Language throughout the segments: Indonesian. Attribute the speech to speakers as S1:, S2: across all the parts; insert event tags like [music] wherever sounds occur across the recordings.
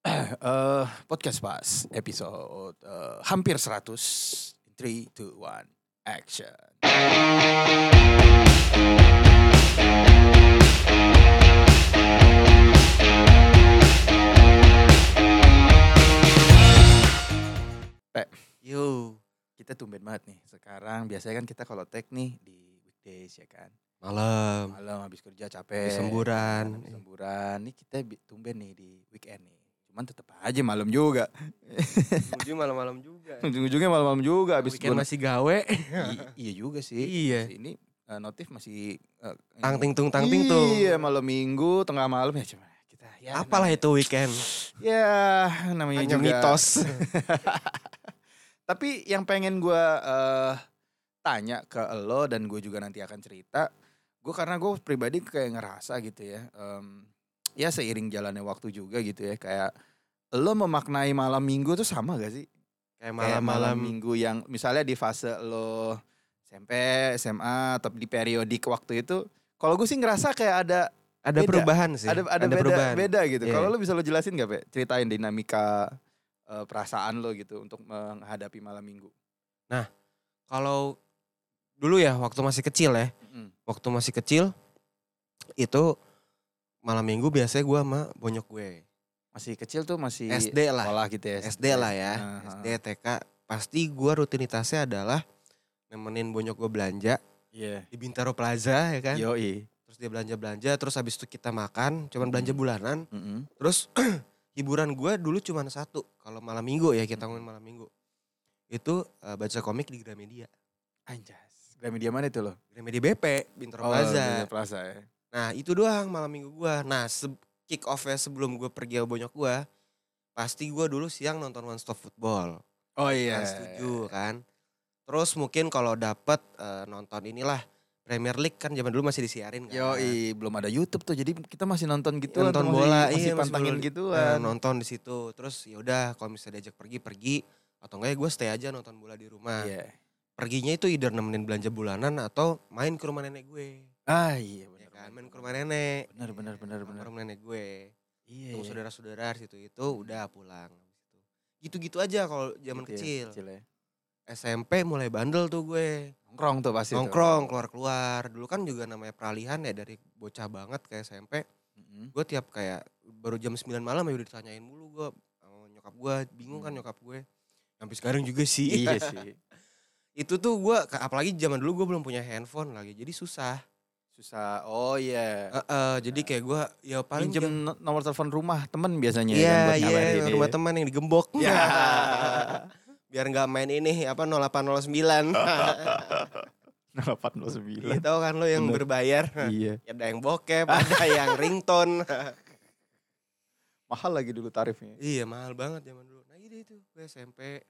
S1: eh, podcast pas episode eh, hampir 100. 3, 2, 1, action. Teh, yo, kita tumben banget nih. Sekarang biasanya kan kita kalau tag nih di weekdays ya kan.
S2: Malam.
S1: Malam habis kerja capek.
S2: Habis semburan.
S1: Habis Iya. semburan. Nih kita bi- tumben nih di weekend nih. Cuman tetap aja malam juga.
S2: Iya. Ujung malam-malam juga.
S1: [laughs] Ujung-ujungnya malam-malam juga habis
S2: Weekend
S1: gua-
S2: masih gawe.
S1: I- iya juga sih.
S2: iya.
S1: Ini eh, notif masih eh, ini.
S2: Tang ting tung tang ting tung.
S1: Iya, malam Minggu, tengah malam ya cuma kita ya.
S2: Apalah
S1: namanya-
S2: itu weekend?
S1: Ya, namanya
S2: Hanya
S1: juga [laughs]
S2: mitos.
S1: Tapi yang pengen gua eh, tanya ke lo dan gue juga nanti akan cerita, gue karena gue pribadi kayak ngerasa gitu ya. em, ya seiring jalannya waktu juga gitu ya kayak lo memaknai malam Minggu tuh sama gak sih? Kayak
S2: Kayak
S1: malam
S2: malam-malam
S1: minggu yang misalnya di fase lo SMP, SMA atau di periodik waktu itu, kalau gue sih ngerasa kayak ada
S2: ada
S1: beda.
S2: perubahan sih.
S1: ada ada, beda
S2: perubahan.
S1: beda gitu.
S2: Iya.
S1: Kalau lo bisa lo jelasin gak, Pe? Ceritain dinamika eh, perasaan lo gitu untuk menghadapi malam minggu.
S2: Kalau dulu ya waktu masih kecil ya,
S1: Mm.
S2: waktu masih kecil itu malam minggu biasanya gua sama bonyok gue.
S1: Masih kecil tuh masih
S2: SD lah.
S1: sekolah gitu ya.
S2: SD lah ya.
S1: Iya. Aha.
S2: SD TK pasti gua rutinitasnya adalah nemenin bonyok gue belanja
S1: Iya.
S2: di Bintaro Plaza ya kan.
S1: Yoi.
S2: Terus dia belanja-belanja, terus habis itu kita makan, cuman belanja
S1: Mhm.
S2: bulanan.
S1: Mm-mm.
S2: Terus [clears throat] hiburan gue dulu cuman satu. Kalau malam minggu ya kita ngomongin malam minggu. Itu eh, baca komik di Gramedia.
S1: Anjas. Gramedia mana itu lo?
S2: Gramedia BP, Bintaro
S1: Oh, Gramedia
S2: Plaza.
S1: Plaza ya.
S2: Nah itu doang malam minggu gue. Nah se- kick off-nya sebelum gue pergi sama bonyok gue. Pasti gue dulu siang nonton One Stop Football.
S1: Oh iya.
S2: Kan setuju kan. Terus mungkin kalau dapet eh, nonton inilah. Premier League kan zaman dulu masih disiarin kan.
S1: Yoi, belum ada YouTube tuh. Jadi kita masih nonton gitu
S2: Nonton
S1: masih,
S2: bola,
S1: masih
S2: iya, masih
S1: pantangin
S2: bola.
S1: gituan.
S2: Eh, nonton di situ terus ya udah kalau misalnya diajak pergi pergi atau enggak ya gue stay aja nonton bola di rumah
S1: Iya.
S2: perginya itu either nemenin belanja bulanan atau main ke rumah nenek gue
S1: Ah iya benar.
S2: ya kan main ke rumah nenek
S1: Benar, benar, benar,
S2: Main
S1: benar.
S2: ke rumah nenek gue
S1: Iya.
S2: tunggu
S1: iya.
S2: saudara-saudara di situ itu udah pulang gitu-gitu aja kalau zaman
S1: Gitu ya,
S2: kecil.
S1: ya.
S2: SMP mulai bandel tuh gue
S1: Nongkrong tuh pasti. tuh.
S2: nongkrong keluar-keluar dulu kan juga namanya peralihan ya dari bocah banget ke SMP [laughs]
S1: Mm-mm.
S2: gue tiap kayak baru jam 9 malam ya udah ditanyain mulu gue sama nyokap gue bingung kan
S1: Hmm.
S2: nyokap gue sampai sekarang juga sih
S1: iya sih.
S2: [laughs] itu tuh gue apalagi zaman dulu gue belum punya handphone lagi jadi susah
S1: Susah. Oh iya.
S2: Eh, eh, jadi kayak gue ya paling
S1: Pinjem
S2: jam-
S1: no- nomor telepon rumah temen biasanya
S2: iya
S1: yang buat ngabarin
S2: iya
S1: ya. [laughs]
S2: rumah teman yang digembok
S1: Ya.
S2: [laughs] biar nggak main ini apa 0809
S1: Oh,
S2: [laughs] Iya
S1: 0809.
S2: tau kan lo yang
S1: Bener.
S2: berbayar
S1: Iya.
S2: Ya, ada yang bokep [laughs] ada yang ringtone
S1: Mahal lagi dulu tarifnya.
S2: Iya mahal banget zaman dulu. Nah iya itu gue SMP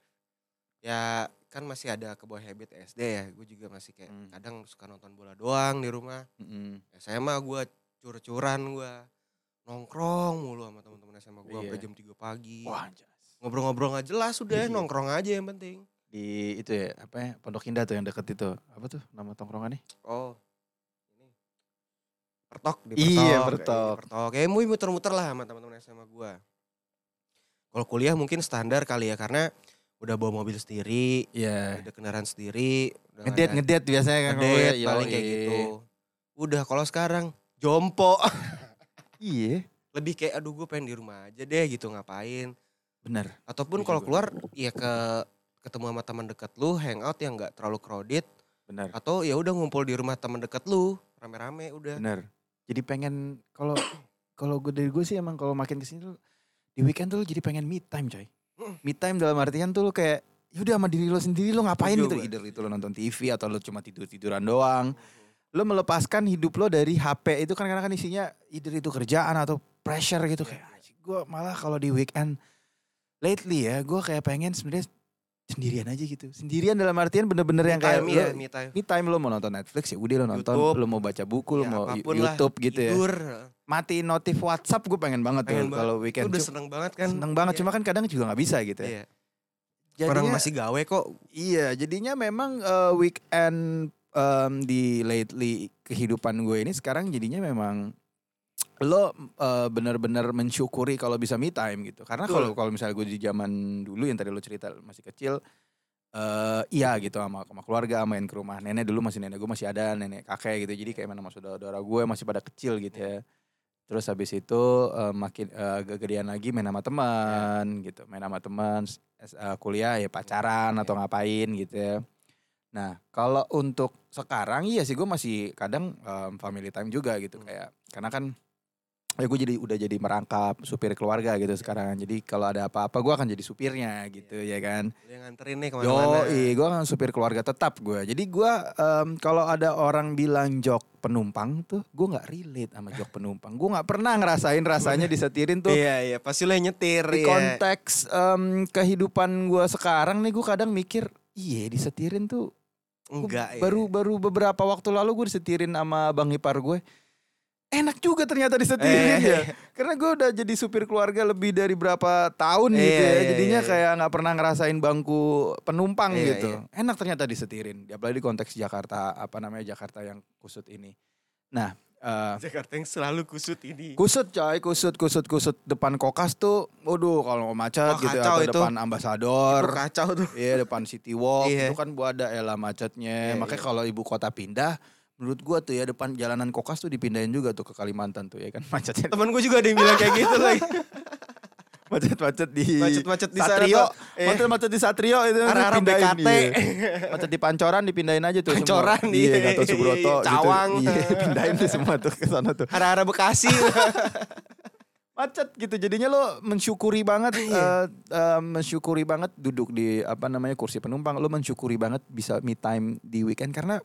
S2: ya kan masih ada ke bawah habit SD ya. Gue juga masih kayak
S1: Hmm.
S2: kadang suka nonton bola doang di rumah.
S1: Mm-mm.
S2: SMA gue cur-curan gue nongkrong mulu sama teman-teman SMA gue sampai
S1: Iya.
S2: jam 3 pagi.
S1: Wah, anjas.
S2: Ngobrol-ngobrol nggak jelas udah
S1: Iya.
S2: nongkrong aja yang penting.
S1: Di itu ya, apa ya? Pondok Indah tuh yang deket itu. Apa tuh nama tongkrongannya?
S2: Oh ini pertok di pertok.
S1: Iya,
S2: kayak
S1: Pertok.
S2: di pertok. Kayak mui muter-muter lah sama teman-teman SMA gue. Kalau kuliah mungkin standar kali ya karena udah bawa mobil sendiri,
S1: Iya.
S2: ada kendaraan sendiri udah
S1: Ngedet
S2: ada-
S1: ngedet biasanya kan. kalau
S2: ngedate,
S1: ya,
S2: paling kayak
S1: yoi.
S2: gitu udah kalau sekarang jompo [laughs]
S1: Iya.
S2: lebih kayak aduh gue pengen di rumah aja deh gitu ngapain
S1: Bener.
S2: ataupun
S1: Iya
S2: kalau
S1: juga.
S2: keluar ya ke ketemu sama teman dekat lu hangout yang nggak terlalu crowded
S1: Bener.
S2: atau ya udah ngumpul di rumah teman dekat lu rame-rame udah
S1: Bener. Jadi pengen kalau kalau gue dari gue sih emang kalau makin kesini tuh di weekend tuh lu jadi pengen me time coy.
S2: Mm.
S1: Me time dalam artian tuh lu kayak yaudah sama diri lo sendiri lo ngapain
S2: Setuju
S1: gitu.
S2: gue.
S1: Either itu lo nonton TV atau lo cuma tidur tiduran doang. Lo melepaskan hidup lo dari HP itu kan karena kan isinya either itu kerjaan atau pressure gitu
S2: Iya,
S1: kayak. Gue malah kalau di weekend lately ya gue kayak pengen sebenarnya sendirian aja gitu. Sendirian dalam artian bener-bener yang kayak lo-
S2: Time ya, me time.
S1: me time lo mau nonton Netflix ya udah lo nonton,
S2: YouTube.
S1: lo mau baca buku, lo
S2: Ya,
S1: mau
S2: apapun lah,
S1: YouTube gitu ya
S2: tidur
S1: matiin notif WhatsApp gue pengen banget
S2: Pengen
S1: tuh kalau
S2: itu
S1: weekend
S2: udah
S1: Cu-
S2: seneng banget kan
S1: seneng banget cuma kan kadang juga nggak bisa gitu ya.
S2: iya. orang
S1: Jadinya,
S2: masih gawe kok
S1: iya jadinya memang eh, weekend em, di lately kehidupan gue ini sekarang jadinya memang lo eh, bener-bener mensyukuri kalau bisa me time gitu karena kalau
S2: Betul.
S1: kalau misalnya gue di zaman dulu yang tadi lo cerita masih kecil eh iya gitu sama sama keluarga main ke rumah nenek dulu masih nenek gue masih ada nenek kakek gitu jadi kayak mana sama saudara-saudara gue masih pada kecil gitu ya terus habis itu eh, makin eh, agak gedean lagi main sama teman gitu main sama teman s- s- eh, kuliah ya pacaran atau ngapain gitu ya nah kalau untuk sekarang iya sih gue masih kadang em, family time juga gitu
S2: Hmm.
S1: kayak karena kan ya gue jadi udah jadi merangkap supir keluarga gitu sekarang jadi kalau ada apa-apa gue akan jadi supirnya gitu ya kan
S2: Lu yang nganterin nih
S1: Yo,
S2: Iya. kemana-mana.
S1: gue kan supir keluarga tetap gue. Jadi gue em, kalau ada orang bilang jok penumpang tuh, gue nggak relate sama jok penumpang. Gue nggak pernah ngerasain rasanya disetirin tuh.
S2: Iya iya pasti lu yang nyetir
S1: gitu. Di
S2: iya.
S1: konteks em, kehidupan gue sekarang nih, gue kadang mikir, iya disetirin tuh. Gua
S2: Enggak iya.
S1: Baru baru beberapa waktu lalu gue disetirin sama bang ipar gue. Enak juga ternyata disetirin
S2: Eh.
S1: ya. Karena gue udah jadi supir keluarga lebih dari berapa tahun gitu
S2: Iya,
S1: ya.
S2: iya,
S1: Jadinya
S2: iya.
S1: kayak nggak pernah ngerasain bangku penumpang
S2: Iya,
S1: gitu. Enak ternyata disetirin. Apalagi di konteks Jakarta apa namanya Jakarta yang kusut ini. Nah, eh,
S2: Jakarta yang selalu kusut ini.
S1: kusut coy, kusut kusut kusut depan kokas tuh, waduh kalau mau macet
S2: Wah,
S1: gitu ya,
S2: kacau
S1: atau
S2: itu.
S1: depan
S2: Itu
S1: ambasador.
S2: kacau tuh.
S1: Iya depan City Walk itu
S2: Iya.
S1: kan buat ada elah macetnya.
S2: Iya,
S1: Makanya
S2: iya.
S1: kalau ibu kota pindah, menurut gua tuh ya depan jalanan Kokas tuh dipindahin juga tuh ke Kalimantan tuh ya kan [laughs] macetnya
S2: Temen gue juga ada yang bilang kayak gitu lagi.
S1: macet-macet di
S2: Macet-macet di sana
S1: Satrio, Iya.
S2: tuh. Eh.
S1: macet-macet di Satrio itu
S2: Arah-arah
S1: dipindahin,
S2: BKT.
S1: iya. [laughs] Macet di Pancoran dipindahin aja tuh
S2: Pancoran,
S1: semua.
S2: iya.
S1: Gatot [laughs] Subroto gitu.
S2: Cawang.
S1: Iya, pindahin tuh semua tuh ke sana tuh.
S2: Arah-arah Bekasi.
S1: macet gitu jadinya lo mensyukuri banget eh,
S2: Iya.
S1: eh, mensyukuri banget duduk di apa namanya kursi penumpang lo mensyukuri banget bisa me time di weekend karena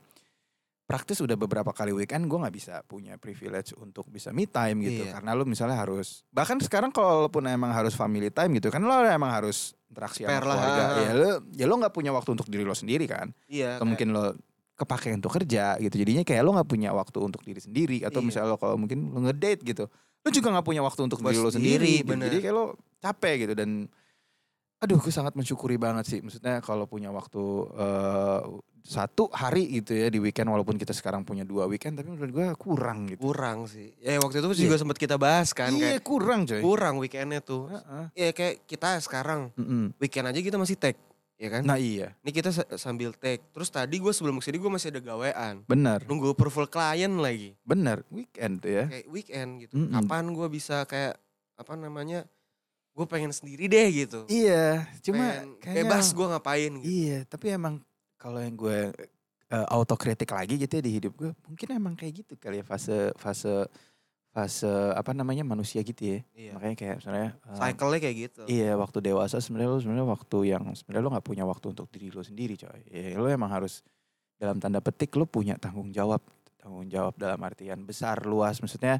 S1: praktis udah beberapa kali weekend gue nggak bisa punya privilege untuk bisa me time gitu
S2: Iya.
S1: karena lo misalnya harus bahkan sekarang kalaupun emang harus family time gitu kan lo emang harus interaksi sama
S2: Spare lah,
S1: keluarga
S2: ha, ha.
S1: ya lo ya lo nggak punya waktu untuk diri lo sendiri kan
S2: [laughs] iya.
S1: atau mungkin lo kepake untuk kerja gitu jadinya kayak lo nggak punya waktu untuk diri sendiri atau
S2: Iya.
S1: misalnya lo kalau mungkin lo ngedate gitu lo juga nggak punya waktu untuk
S2: Buat
S1: diri lo
S2: sendiri,
S1: sendiri gitu.
S2: bener.
S1: jadi kayak lo capek gitu dan aduh gue sangat mensyukuri banget sih maksudnya kalau punya waktu eh, satu hari gitu ya di weekend walaupun kita sekarang punya dua weekend tapi menurut gue kurang gitu
S2: kurang sih. Ya waktu itu
S1: Iya.
S2: juga sempat kita bahas kan
S1: iya
S2: kayak
S1: kurang coy
S2: kurang weekendnya tuh.
S1: Heeh.
S2: Ya kayak kita sekarang
S1: Mm-mm.
S2: weekend aja kita masih tag, ya kan?
S1: nah iya
S2: Ini kita sa- sambil tag. Terus tadi gue sebelum kesini gue masih ada gawean.
S1: benar
S2: Nunggu approval klien lagi.
S1: benar weekend tuh ya
S2: Kayak weekend gitu.
S1: Mm-mm.
S2: Kapan gue bisa kayak apa namanya? Gue pengen sendiri deh gitu.
S1: iya cuma
S2: Pengen
S1: kayaknya-
S2: bebas gue ngapain gitu.
S1: Iya, tapi emang kalau yang gue eh, autokritik lagi gitu ya di hidup gue, mungkin emang kayak gitu kali ya fase fase fase apa namanya manusia gitu ya.
S2: Iya.
S1: Makanya kayak sebenarnya eh,
S2: Cycle-nya kayak gitu.
S1: Iya, waktu dewasa sebenarnya lo sebenarnya waktu yang sebenarnya lo nggak punya waktu untuk diri lo sendiri, coy. Ya, lo emang harus dalam tanda petik lo punya tanggung jawab, tanggung jawab dalam artian besar, luas, maksudnya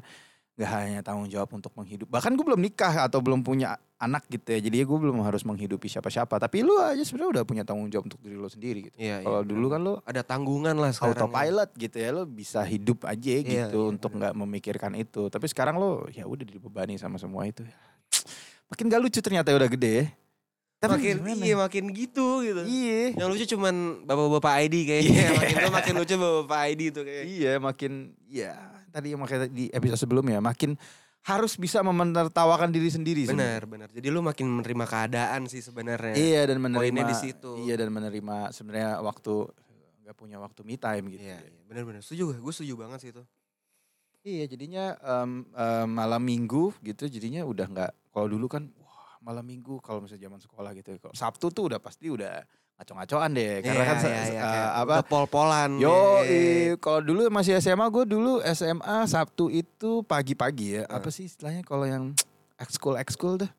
S1: nggak hanya tanggung jawab untuk menghidup. Bahkan gue belum nikah atau belum punya anak gitu ya, jadi gue belum harus menghidupi siapa-siapa. Tapi lo aja sebenarnya udah punya tanggung jawab untuk diri lo sendiri gitu.
S2: Iya, iya.
S1: Kalau dulu kan lo
S2: ada tanggungan lah sekarang.
S1: autopilot gitu ya lo bisa hidup aja gitu
S2: Iya, iya,
S1: untuk nggak memikirkan itu tapi sekarang lo ya udah dibebani sama semua itu ya. makin gak lucu ternyata ya udah gede ya tapi
S2: makin
S1: gimana?
S2: iya makin gitu gitu.
S1: iya
S2: Yang lucu cuman bapak-bapak ID kayaknya.
S1: Iya.
S2: ya, makin tua makin lucu bapak-bapak ID tuh kayak.
S1: iya makin ya tadi yang makanya di episode sebelumnya makin harus bisa menertawakan diri sendiri sebenarnya.
S2: Benar, benar. Jadi lu makin menerima keadaan sih sebenarnya.
S1: iya dan menerima
S2: Poinnya di situ.
S1: iya dan menerima sebenarnya waktu nggak punya waktu me time gitu
S2: Iya, iya. benar-benar. Setuju gue, gue setuju banget sih itu.
S1: Iya jadinya em, em, malam minggu gitu jadinya udah nggak kalau dulu kan wah malam minggu kalau misalnya zaman sekolah gitu kalau Sabtu tuh udah pasti udah ngaco-ngacoan deh karena
S2: Iya,
S1: kan se-
S2: iya,
S1: se-
S2: iya,
S1: eh,
S2: kayak
S1: apa
S2: udah pol-polan.
S1: yo
S2: iya, iya.
S1: i- kalau dulu masih SMA gue dulu SMA Sabtu itu pagi-pagi ya apa sih istilahnya kalau yang ekskul ekskul tuh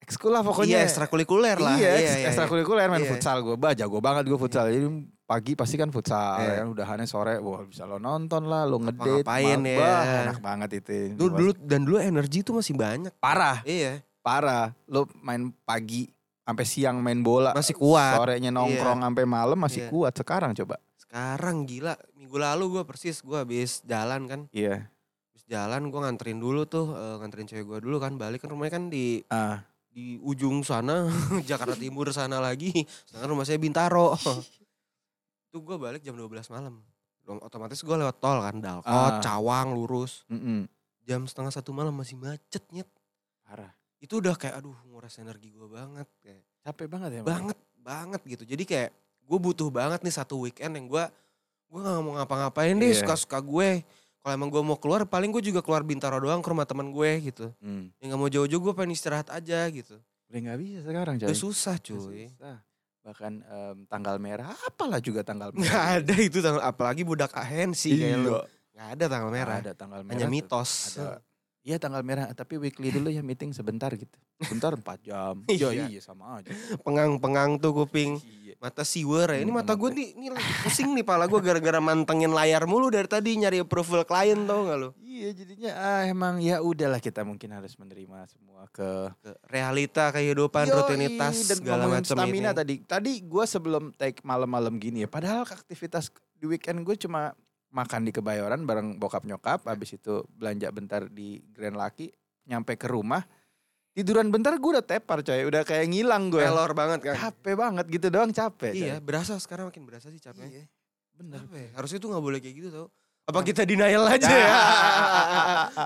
S1: ekskul lah
S2: Iya,
S1: pokoknya
S2: ekstrakurikuler lah.
S1: Iya, ekstrakurikuler main
S2: Iya.
S1: futsal gue. Bah, jago banget gue futsal. Jadi pagi pasti kan futsal. Ya,
S2: Iya.
S1: udahannya sore, wah bisa lo nonton lah, lo ngedate.
S2: Ngapa-ngapain
S1: mabah,
S2: ya.
S1: Enak banget itu.
S2: Dulu, dulu dan dulu energi tuh masih banyak.
S1: parah,
S2: Iya.
S1: parah. Lo main pagi sampai siang main bola.
S2: Masih kuat.
S1: Sorenya nongkrong sampai malam masih
S2: Iya.
S1: kuat sekarang coba.
S2: Sekarang gila, minggu lalu gue persis gue habis jalan kan.
S1: Iya.
S2: Habis jalan gue nganterin dulu tuh, eh, nganterin cewek gue dulu kan, balik kan rumahnya kan di
S1: Ah,
S2: di ujung sana [laughs] Jakarta Timur sana lagi sedangkan rumah saya
S1: [laughs]
S2: Bintaro tuh gue balik jam 12 malam Dong, otomatis gue lewat tol kan dalkot
S1: Ah.
S2: cawang lurus
S1: mm-mm.
S2: jam setengah satu malam masih macet nyet
S1: Parah.
S2: itu udah kayak aduh nguras energi gue banget kayak
S1: Capek banget ya. Bang.
S2: banget banget gitu jadi kayak gue butuh banget nih satu weekend yang gue gue nggak mau ngapa-ngapain deh
S1: Iya.
S2: suka suka gue kalau emang gue mau keluar paling gue juga keluar bintaro doang ke rumah teman gue gitu
S1: Hmm.
S2: yang nggak mau jauh-jauh gue pengen istirahat aja gitu
S1: Udah nggak bisa sekarang coy.
S2: udah susah
S1: Udah
S2: cuy
S1: susah. Bahkan em, tanggal merah apalah juga tanggal
S2: nggak
S1: merah.
S2: ada itu tanggal apalagi budak ahensi
S1: Iya.
S2: kayak lu nggak ada tanggal
S1: Nggak
S2: merah
S1: Ada tanggal merah.
S2: hanya
S1: tuh.
S2: mitos
S1: Ada. Iya tanggal merah, tapi weekly dulu ya meeting sebentar gitu. Bentar 4 jam. Ya,
S2: [laughs] Iya.
S1: iya sama aja.
S2: [laughs] pengang-pengang tuh kuping
S1: Iya.
S2: mata siwer ya. Ini
S1: Hmm,
S2: mata gue
S1: mantep.
S2: nih, ini lagi pusing nih pala gue gara-gara mantengin layar mulu dari tadi nyari approval klien tau gak lo?
S1: Iya jadinya ah, emang ya udahlah kita mungkin harus menerima semua ke
S2: Realita
S1: Yoi,
S2: kehidupan, rutinitas,
S1: dan
S2: segala
S1: ngomongin
S2: macam ini.
S1: stamina tadi. Tadi gue sebelum take malam-malam gini ya. Padahal aktivitas di weekend gue cuma makan di Kebayoran bareng bokap nyokap. Habis itu belanja bentar di Grand Laki. Nyampe ke rumah. Tiduran bentar gue udah tepar coy. Udah kayak ngilang gue.
S2: Pelor banget kan?
S1: Iya. Capek banget gitu doang capek. coy.
S2: Iya, ya. berasa sekarang makin berasa sih
S1: Iya.
S2: capeknya. [laughs]
S1: Bener.
S2: Apa ya? Harusnya tuh gak boleh kayak gitu tau. Apa kita denial aja
S1: [laughs]
S2: ya?
S1: Ya.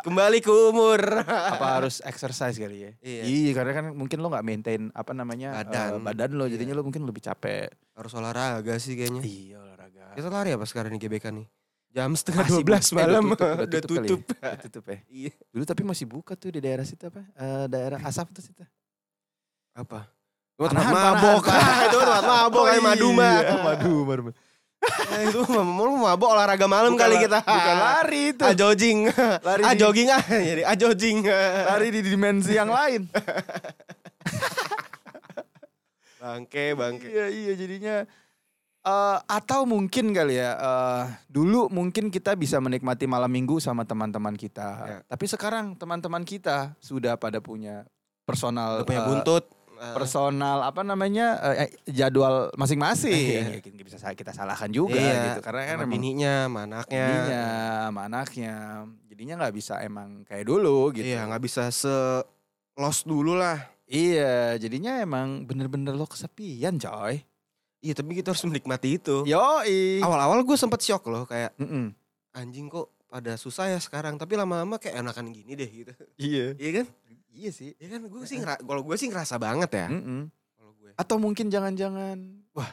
S2: Kembali ke umur.
S1: apa harus exercise kali ya?
S2: Iya.
S1: Iya, karena kan mungkin lo nggak maintain apa namanya eh,
S2: Badan. Iya.
S1: badan lo, jadinya lo mungkin lebih
S2: [laughs]
S1: capek.
S2: Harus olahraga sih kayaknya.
S1: Iya olahraga.
S2: Kita lari apa sekarang di GBK nih? Jam setengah
S1: Masih
S2: 12
S1: buka- eh,
S2: malam.
S1: udah tutup, udah tutup,
S2: tutup.
S1: Kali ya? Udah tutup ya.
S2: Iya.
S1: Dulu tapi masih buka tuh di daerah situ apa? Eh, daerah asap tuh situ.
S2: Apa?
S1: Panahan,
S2: tempat
S1: panahan,
S2: mabok.
S1: panahan.
S2: Itu tempat mabok, kayak madu,
S1: iya,
S2: Mak.
S1: Madu, madu.
S2: Eh, itu mau mau mabok olahraga malam
S1: Bukan
S2: kali
S1: la-
S2: kita.
S1: Bukan lari itu.
S2: Ah jogging.
S1: Lari
S2: Ah
S1: di-
S2: jogging ah. Jadi ah jogging.
S1: Lari di dimensi yang lain.
S2: Bangke, bangke.
S1: Iya iya jadinya eh, atau mungkin kali ya eh, dulu mungkin kita bisa menikmati malam minggu sama teman-teman kita.
S2: Ya.
S1: Tapi sekarang teman-teman kita sudah pada punya personal
S2: Udah punya
S1: eh,
S2: buntut.
S1: personal apa namanya eh, jadwal
S2: Iya.
S1: masing-masing. Ya, kita bisa kita salahkan juga gitu karena kan
S2: sama
S1: emang
S2: bininya, sama anaknya.
S1: bininya, sama anaknya. Jadinya nggak bisa emang kayak dulu gitu.
S2: Iya, nggak bisa se los dulu lah.
S1: Iya, jadinya emang bener-bener lo kesepian coy.
S2: Iya, tapi kita harus menikmati itu.
S1: Iya. Yoi.
S2: Awal-awal gue sempet shock loh kayak
S1: Mm-mm.
S2: anjing kok pada susah ya sekarang tapi lama-lama kayak enakan gini deh gitu
S1: [laughs] Iya.
S2: iya kan
S1: Iya sih.
S2: iya kan gue sih ngera- kalau gue sih ngerasa banget ya
S1: Mm-mm.
S2: kalau ya. gue
S1: Atau mungkin jangan-jangan, wah,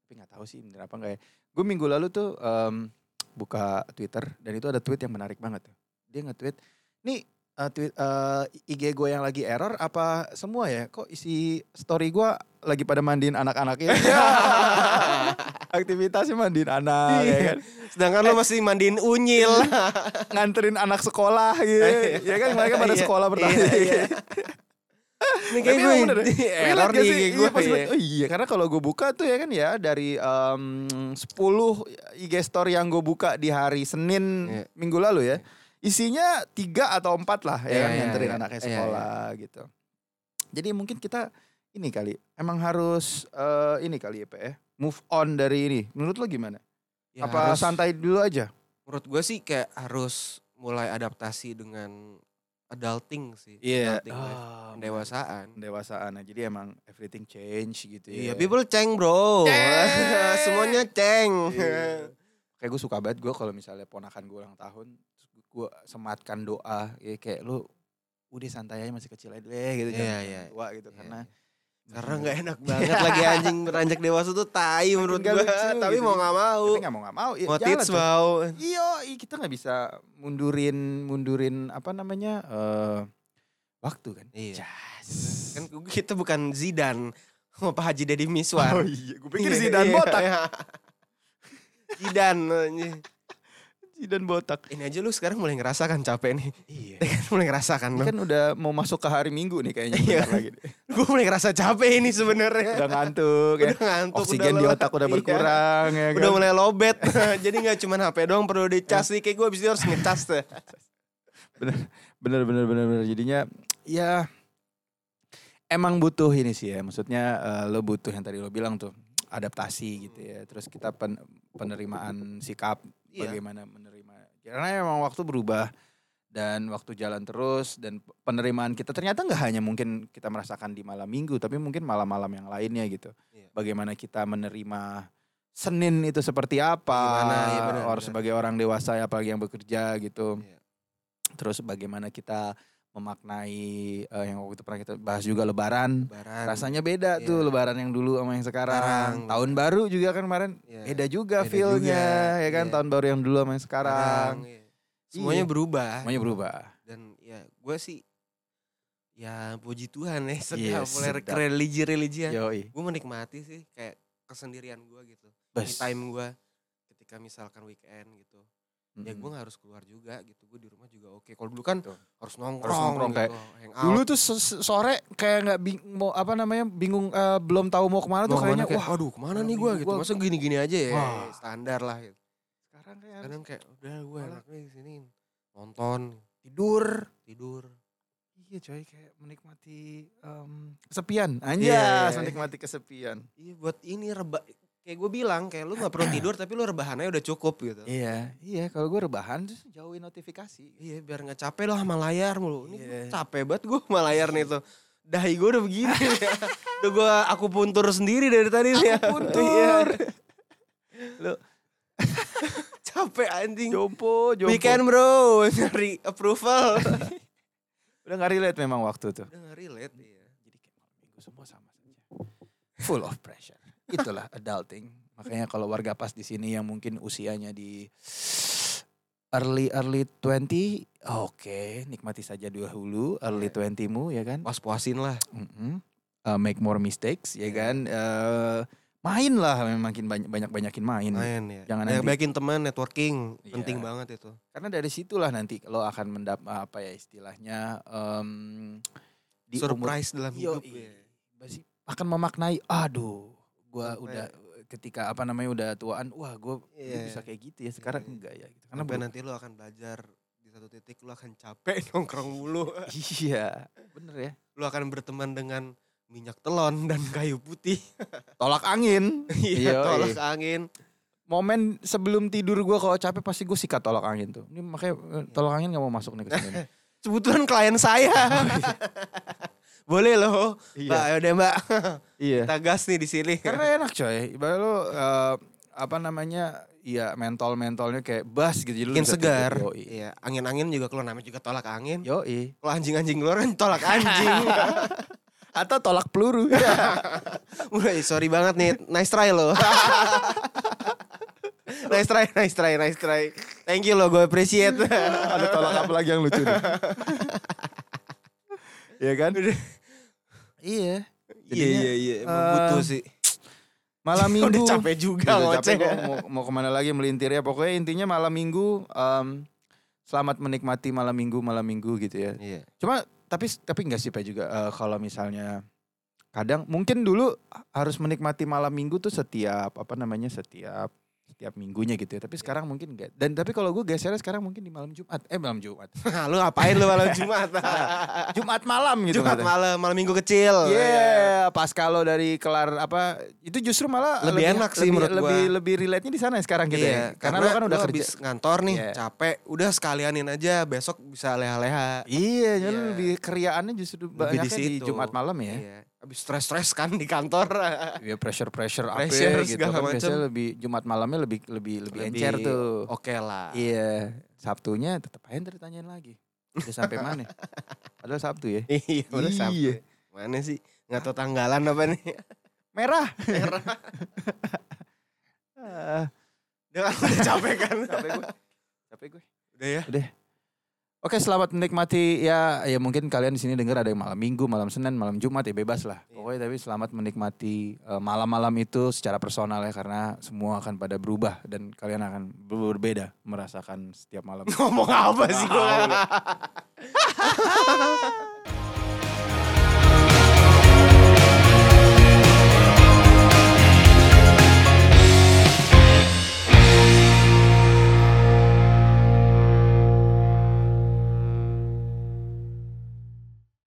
S1: tapi nggak tahu sih bener apa nggak ya. Gue minggu lalu tuh em, buka Twitter dan itu ada tweet yang menarik banget. tuh. Dia nge-tweet, nih eh, tweet eh, IG gue yang lagi error apa semua ya? Kok isi story gue lagi pada mandiin anak-anaknya?
S2: [laughs]
S1: Aktivitasnya mandiin anak, ya
S2: Iya.
S1: kan?
S2: sedangkan lo masih mandiin
S1: [laughs]
S2: unyil
S1: nganterin anak sekolah
S2: [laughs]
S1: gitu, ya kan? Mereka pada
S2: Iya,
S1: sekolah pertama.
S2: iya, iya.
S1: [laughs]
S2: Ini kayak
S1: Tapi emang
S2: gue [laughs]
S1: bener deh.
S2: error
S1: Relate gak
S2: nih
S1: sih?
S2: kayak
S1: Iya,
S2: gue.
S1: pas
S2: iya.
S1: banget. Oh iya, karena kalau gue buka tuh ya kan ya dari em, 10 IG story yang gue buka di hari Senin
S2: Iya.
S1: minggu lalu ya. Isinya tiga atau empat lah ya
S2: Iya,
S1: kan
S2: iya,
S1: nganterin
S2: iya.
S1: anaknya
S2: Iya, iya.
S1: sekolah gitu. Jadi mungkin kita ini kali emang harus eh, ini kali ya Pak ya. Move on dari ini. Menurut lo gimana?
S2: Ya,
S1: iya, Apa
S2: harus-
S1: santai dulu aja?
S2: Menurut gue sih kayak harus mulai adaptasi dengan adulting sih.
S1: Iya.
S2: Adulting
S1: Ah,
S2: life. Pendewasaan.
S1: Dewasaan. Jadi emang everything change gitu ya.
S2: Iya, people ceng bro.
S1: Ceng.
S2: [laughs] Semuanya ceng. [laughs]
S1: Iya. [laughs] kayak gue suka banget gue kalau misalnya ponakan gue ulang tahun gue sematkan doa ya kayak lu udah santai aja masih kecil aja deh gitu
S2: Iya,
S1: jangan
S2: iya.
S1: tua gitu
S2: Iya,
S1: karena
S2: Karena nggak enak banget lagi anjing beranjak dewasa tuh tai menurut
S1: nggak
S2: gue.
S1: lucu
S2: Tapi
S1: gitu.
S2: mau nggak mau.
S1: tapi nggak mau nggak mau ya
S2: Mau
S1: jalan
S2: tits
S1: coy.
S2: mau.
S1: Iya, iya, kita nggak bisa mundurin mundurin apa namanya eh waktu kan
S2: Iya.
S1: Jas.
S2: Kan kita bukan Zidan. Mau Pak Haji Deddy Miswar.
S1: oh iya gue pikir Zidane
S2: Iya,
S1: botak
S2: iya. Zidane. anjing.
S1: Zidane botak
S2: Ini aja lu sekarang mulai ngerasakan capek nih.
S1: iya
S2: Ya kan mulai ngerasakan
S1: ini
S2: lu.
S1: kan udah mau masuk ke hari minggu nih kayaknya
S2: Iya.
S1: bentar lagi deh.
S2: Gue mulai ngerasa capek ini sebenarnya.
S1: udah ngantuk ya.
S2: Udah ngantuk,
S1: oksigen
S2: udah
S1: di
S2: lelah.
S1: otak udah
S2: Iya.
S1: berkurang ya kan?
S2: Udah mulai lobet. [laughs] Jadi nggak cuma HP doang perlu dicas nih. Kayak gue abis itu harus ngecas tuh.
S1: bener bener bener bener bener. jadinya ya emang butuh ini sih ya maksudnya eh, lo butuh yang tadi lo bilang tuh adaptasi gitu ya terus kita pen- penerimaan sikap
S2: Iya.
S1: bagaimana menerima karena emang waktu berubah dan waktu jalan terus dan penerimaan kita ternyata nggak hanya mungkin kita merasakan di malam minggu tapi mungkin malam-malam yang lainnya gitu
S2: Iya.
S1: bagaimana kita menerima Senin itu seperti apa
S2: Gimana, iya benar,
S1: or
S2: benar.
S1: sebagai orang dewasa apalagi yang bekerja gitu
S2: Iya.
S1: terus bagaimana kita memaknai eh, yang waktu itu pernah kita bahas juga lebaran
S2: Lebaran.
S1: rasanya beda
S2: Iya.
S1: tuh lebaran yang dulu sama yang sekarang
S2: Sekarang.
S1: tahun baru juga kan kemarin
S2: Iya.
S1: beda juga
S2: Beda
S1: feelnya
S2: juga,
S1: ya kan
S2: iya.
S1: tahun baru yang dulu sama yang sekarang
S2: Sekarang, iya. Semuanya
S1: Iya.
S2: berubah.
S1: semuanya berubah
S2: dan ya gue sih ya puji Tuhan ya sedap
S1: Iya,
S2: mulai
S1: sedap. Iya.
S2: religi religian
S1: yoi
S2: gue menikmati sih kayak kesendirian gue gitu me
S1: Bes.
S2: time gue ketika misalkan weekend gitu ya
S1: Mm-mm.
S2: gue nggak harus keluar juga gitu gue di rumah juga oke kalau dulu kan
S1: Betul.
S2: harus nongkrong,
S1: nongkrong,
S2: gitu,
S1: kayak
S2: hang out.
S1: Dulu tuh se- se- sore kayak nggak bing mau apa namanya bingung eh, belum tahu mau kemana tuh
S2: Mau kemana
S1: kayaknya
S2: kayak,
S1: wah
S2: aduh kemana
S1: malam
S2: nih gue
S1: minggu
S2: gitu
S1: gua-
S2: masa gini gini aja ya
S1: Wah.
S2: standar lah gitu
S1: sekarang kayak harus
S2: kadang kayak udah gue
S1: Malah-
S2: enaknya di sini nonton
S1: tidur
S2: tidur
S1: iya coy kayak menikmati em, kesepian anjas
S2: Iya, iya.
S1: menikmati kesepian
S2: Iya buat ini reba kayak gue bilang kayak lu nggak
S1: [clears throat]
S2: perlu tidur tapi lu rebahannya udah cukup gitu.
S1: iya iya kalau gue rebahan terus jauhin notifikasi
S2: Iya biar nggak capek lah sama layar mulu. Ini gua
S1: Iya.
S2: capek banget gue sama layar nih tuh. Dahi gue udah
S1: [laughs]
S2: begini. udah gue aku puntur sendiri dari tadi nih. ya. Iya, [laughs]
S1: puntur
S2: capek anjing.
S1: jompo jompo
S2: Weekend bro [laughs] nyari
S1: [laughs]
S2: approval.
S1: udah nggak relate memang waktu tuh
S2: udah nggak relate iya.
S1: jadi kayak malam minggu semua sama saja full of pressure itulah adulting makanya kalau warga pas di sini yang mungkin usianya di early early 20 oke nikmati saja dua hulu early 20-mu ya kan
S2: Puas-puasin lah.
S1: Mm-mm. Uh, make more mistakes ya
S2: Iya.
S1: kan Eh, main lah memang makin banyak banyak banyakin main
S2: Main ya.
S1: Jangan
S2: Banyak
S1: nanti-
S2: baikin teman networking
S1: Iya.
S2: penting banget itu.
S1: karena dari situlah nanti lo akan mendapat apa ya istilahnya em, di umur
S2: Surprise dalam hidup
S1: Yoi.
S2: ya.
S1: pasti akan memaknai aduh gua
S2: Sampai-
S1: udah ketika apa namanya udah tuaan wah gua dulu
S2: ya?" Iya.
S1: bisa kayak gitu ya sekarang
S2: Iya.
S1: enggak ya gitu. karena
S2: Karena
S1: bener
S2: nanti lu akan belajar di satu titik lu akan capek [laughs] nongkrong mulu.
S1: [laughs] iya bener ya
S2: lu akan berteman dengan minyak telon dan kayu
S1: [laughs]
S2: putih.
S1: tolak angin
S2: [laughs] Iya,
S1: Yoi.
S2: tolak angin.
S1: momen sebelum tidur gua kalau capek pasti gua sikat tolak angin tuh ini makanya eh,
S2: Iya.
S1: tolak angin nggak mau masuk nih Iya. ke
S2: [laughs]
S1: sini nih.
S2: Kebetulan klien
S1: [laughs]
S2: saya. Boleh loh.
S1: iya
S2: Mbak, ayo deh Mbak.
S1: [laughs] iya
S2: Kita gas nih di sini. [laughs]
S1: karena enak coy ibarat lo eh, apa namanya ya mentol mentolnya kayak bas gitu jadi lu
S2: Angin
S1: bisa
S2: segar.
S1: tidur. yoi
S2: Iya, angin-angin juga keluar namanya juga tolak angin.
S1: yoi
S2: Kalau anjing-anjing keluar kan tolak anjing.
S1: [laughs] atau tolak peluru
S2: Mulai sorry banget nih. Nice try [laughs] loh. nice try, nice try, nice try. Thank you loh, gue appreciate.
S1: [laughs] ada tolak apa lagi yang lucu nih? [laughs] Iya kan? [laughs] iya.
S2: Iya, iya, iya. Emang
S1: eh,
S2: butuh sih.
S1: Malam minggu.
S2: Udah capek juga
S1: Udah
S2: ngoceh.
S1: capek ya? kok, mau, mau kemana lagi melintir ya. Pokoknya intinya malam minggu. em, selamat menikmati malam minggu, malam minggu gitu ya.
S2: Iya.
S1: Cuma tapi tapi nggak sih Pak juga eh, kalau misalnya kadang mungkin dulu harus menikmati malam minggu tuh setiap apa namanya setiap setiap minggunya gitu ya. Tapi sekarang mungkin enggak. Dan tapi kalau gue gesernya sekarang mungkin di malam Jumat. Eh malam Jumat.
S2: Hah, Nah, lu ngapain lu [laughs] malam Jumat?
S1: Jumat malam gitu.
S2: Jumat
S1: katanya.
S2: malam, malam iya. minggu kecil.
S1: Yeah, pas kalau dari kelar apa itu justru malah
S2: Lebih enak
S1: lebih,
S2: sih menurut gua.
S1: lebih lebih relate-nya di sana ya sekarang gitu
S2: Iya,
S1: ya. Karena, lo kan udah kerja.
S2: habis ngantor nih,
S1: Iya.
S2: capek. Udah sekalianin aja, besok bisa leha-leha.
S1: Iya, jadi
S2: Iya.
S1: lebih keriaannya justru
S2: Lebih
S1: banyaknya
S2: di
S1: di,
S2: situ.
S1: Jumat malam ya.
S2: Iya. Habis stres-stres kan di kantor.
S1: Ya pressure-pressure apa
S2: Pressure
S1: gitu
S2: segala
S1: kan
S2: macam.
S1: biasanya lebih Jumat malamnya lebih lebih lebih, encer tuh.
S2: Oke lah.
S1: Iya, Sabtunya tetap aja ntar ditanyain lagi. Udah sampai mana? Padahal Sabtu ya.
S2: Iya, udah
S1: Iya.
S2: sampai. Mana sih? Nggak tahu tanggalan apa nih. [laughs]
S1: Merah.
S2: Merah.
S1: Ah,
S2: Udah udah capek kan.
S1: capek gue. Capek gue.
S2: Udah ya.
S1: Oke, selamat menikmati ya ya mungkin kalian di sini dengar ada yang malam Minggu, malam Senin, malam Jumat ya bebas lah.
S2: Iya.
S1: Pokoknya tapi selamat menikmati eh, malam-malam itu secara personal ya karena semua akan pada berubah dan kalian akan ber- berbeda merasakan setiap malam.
S2: Ngomong apa sih
S1: Tahu
S2: gua?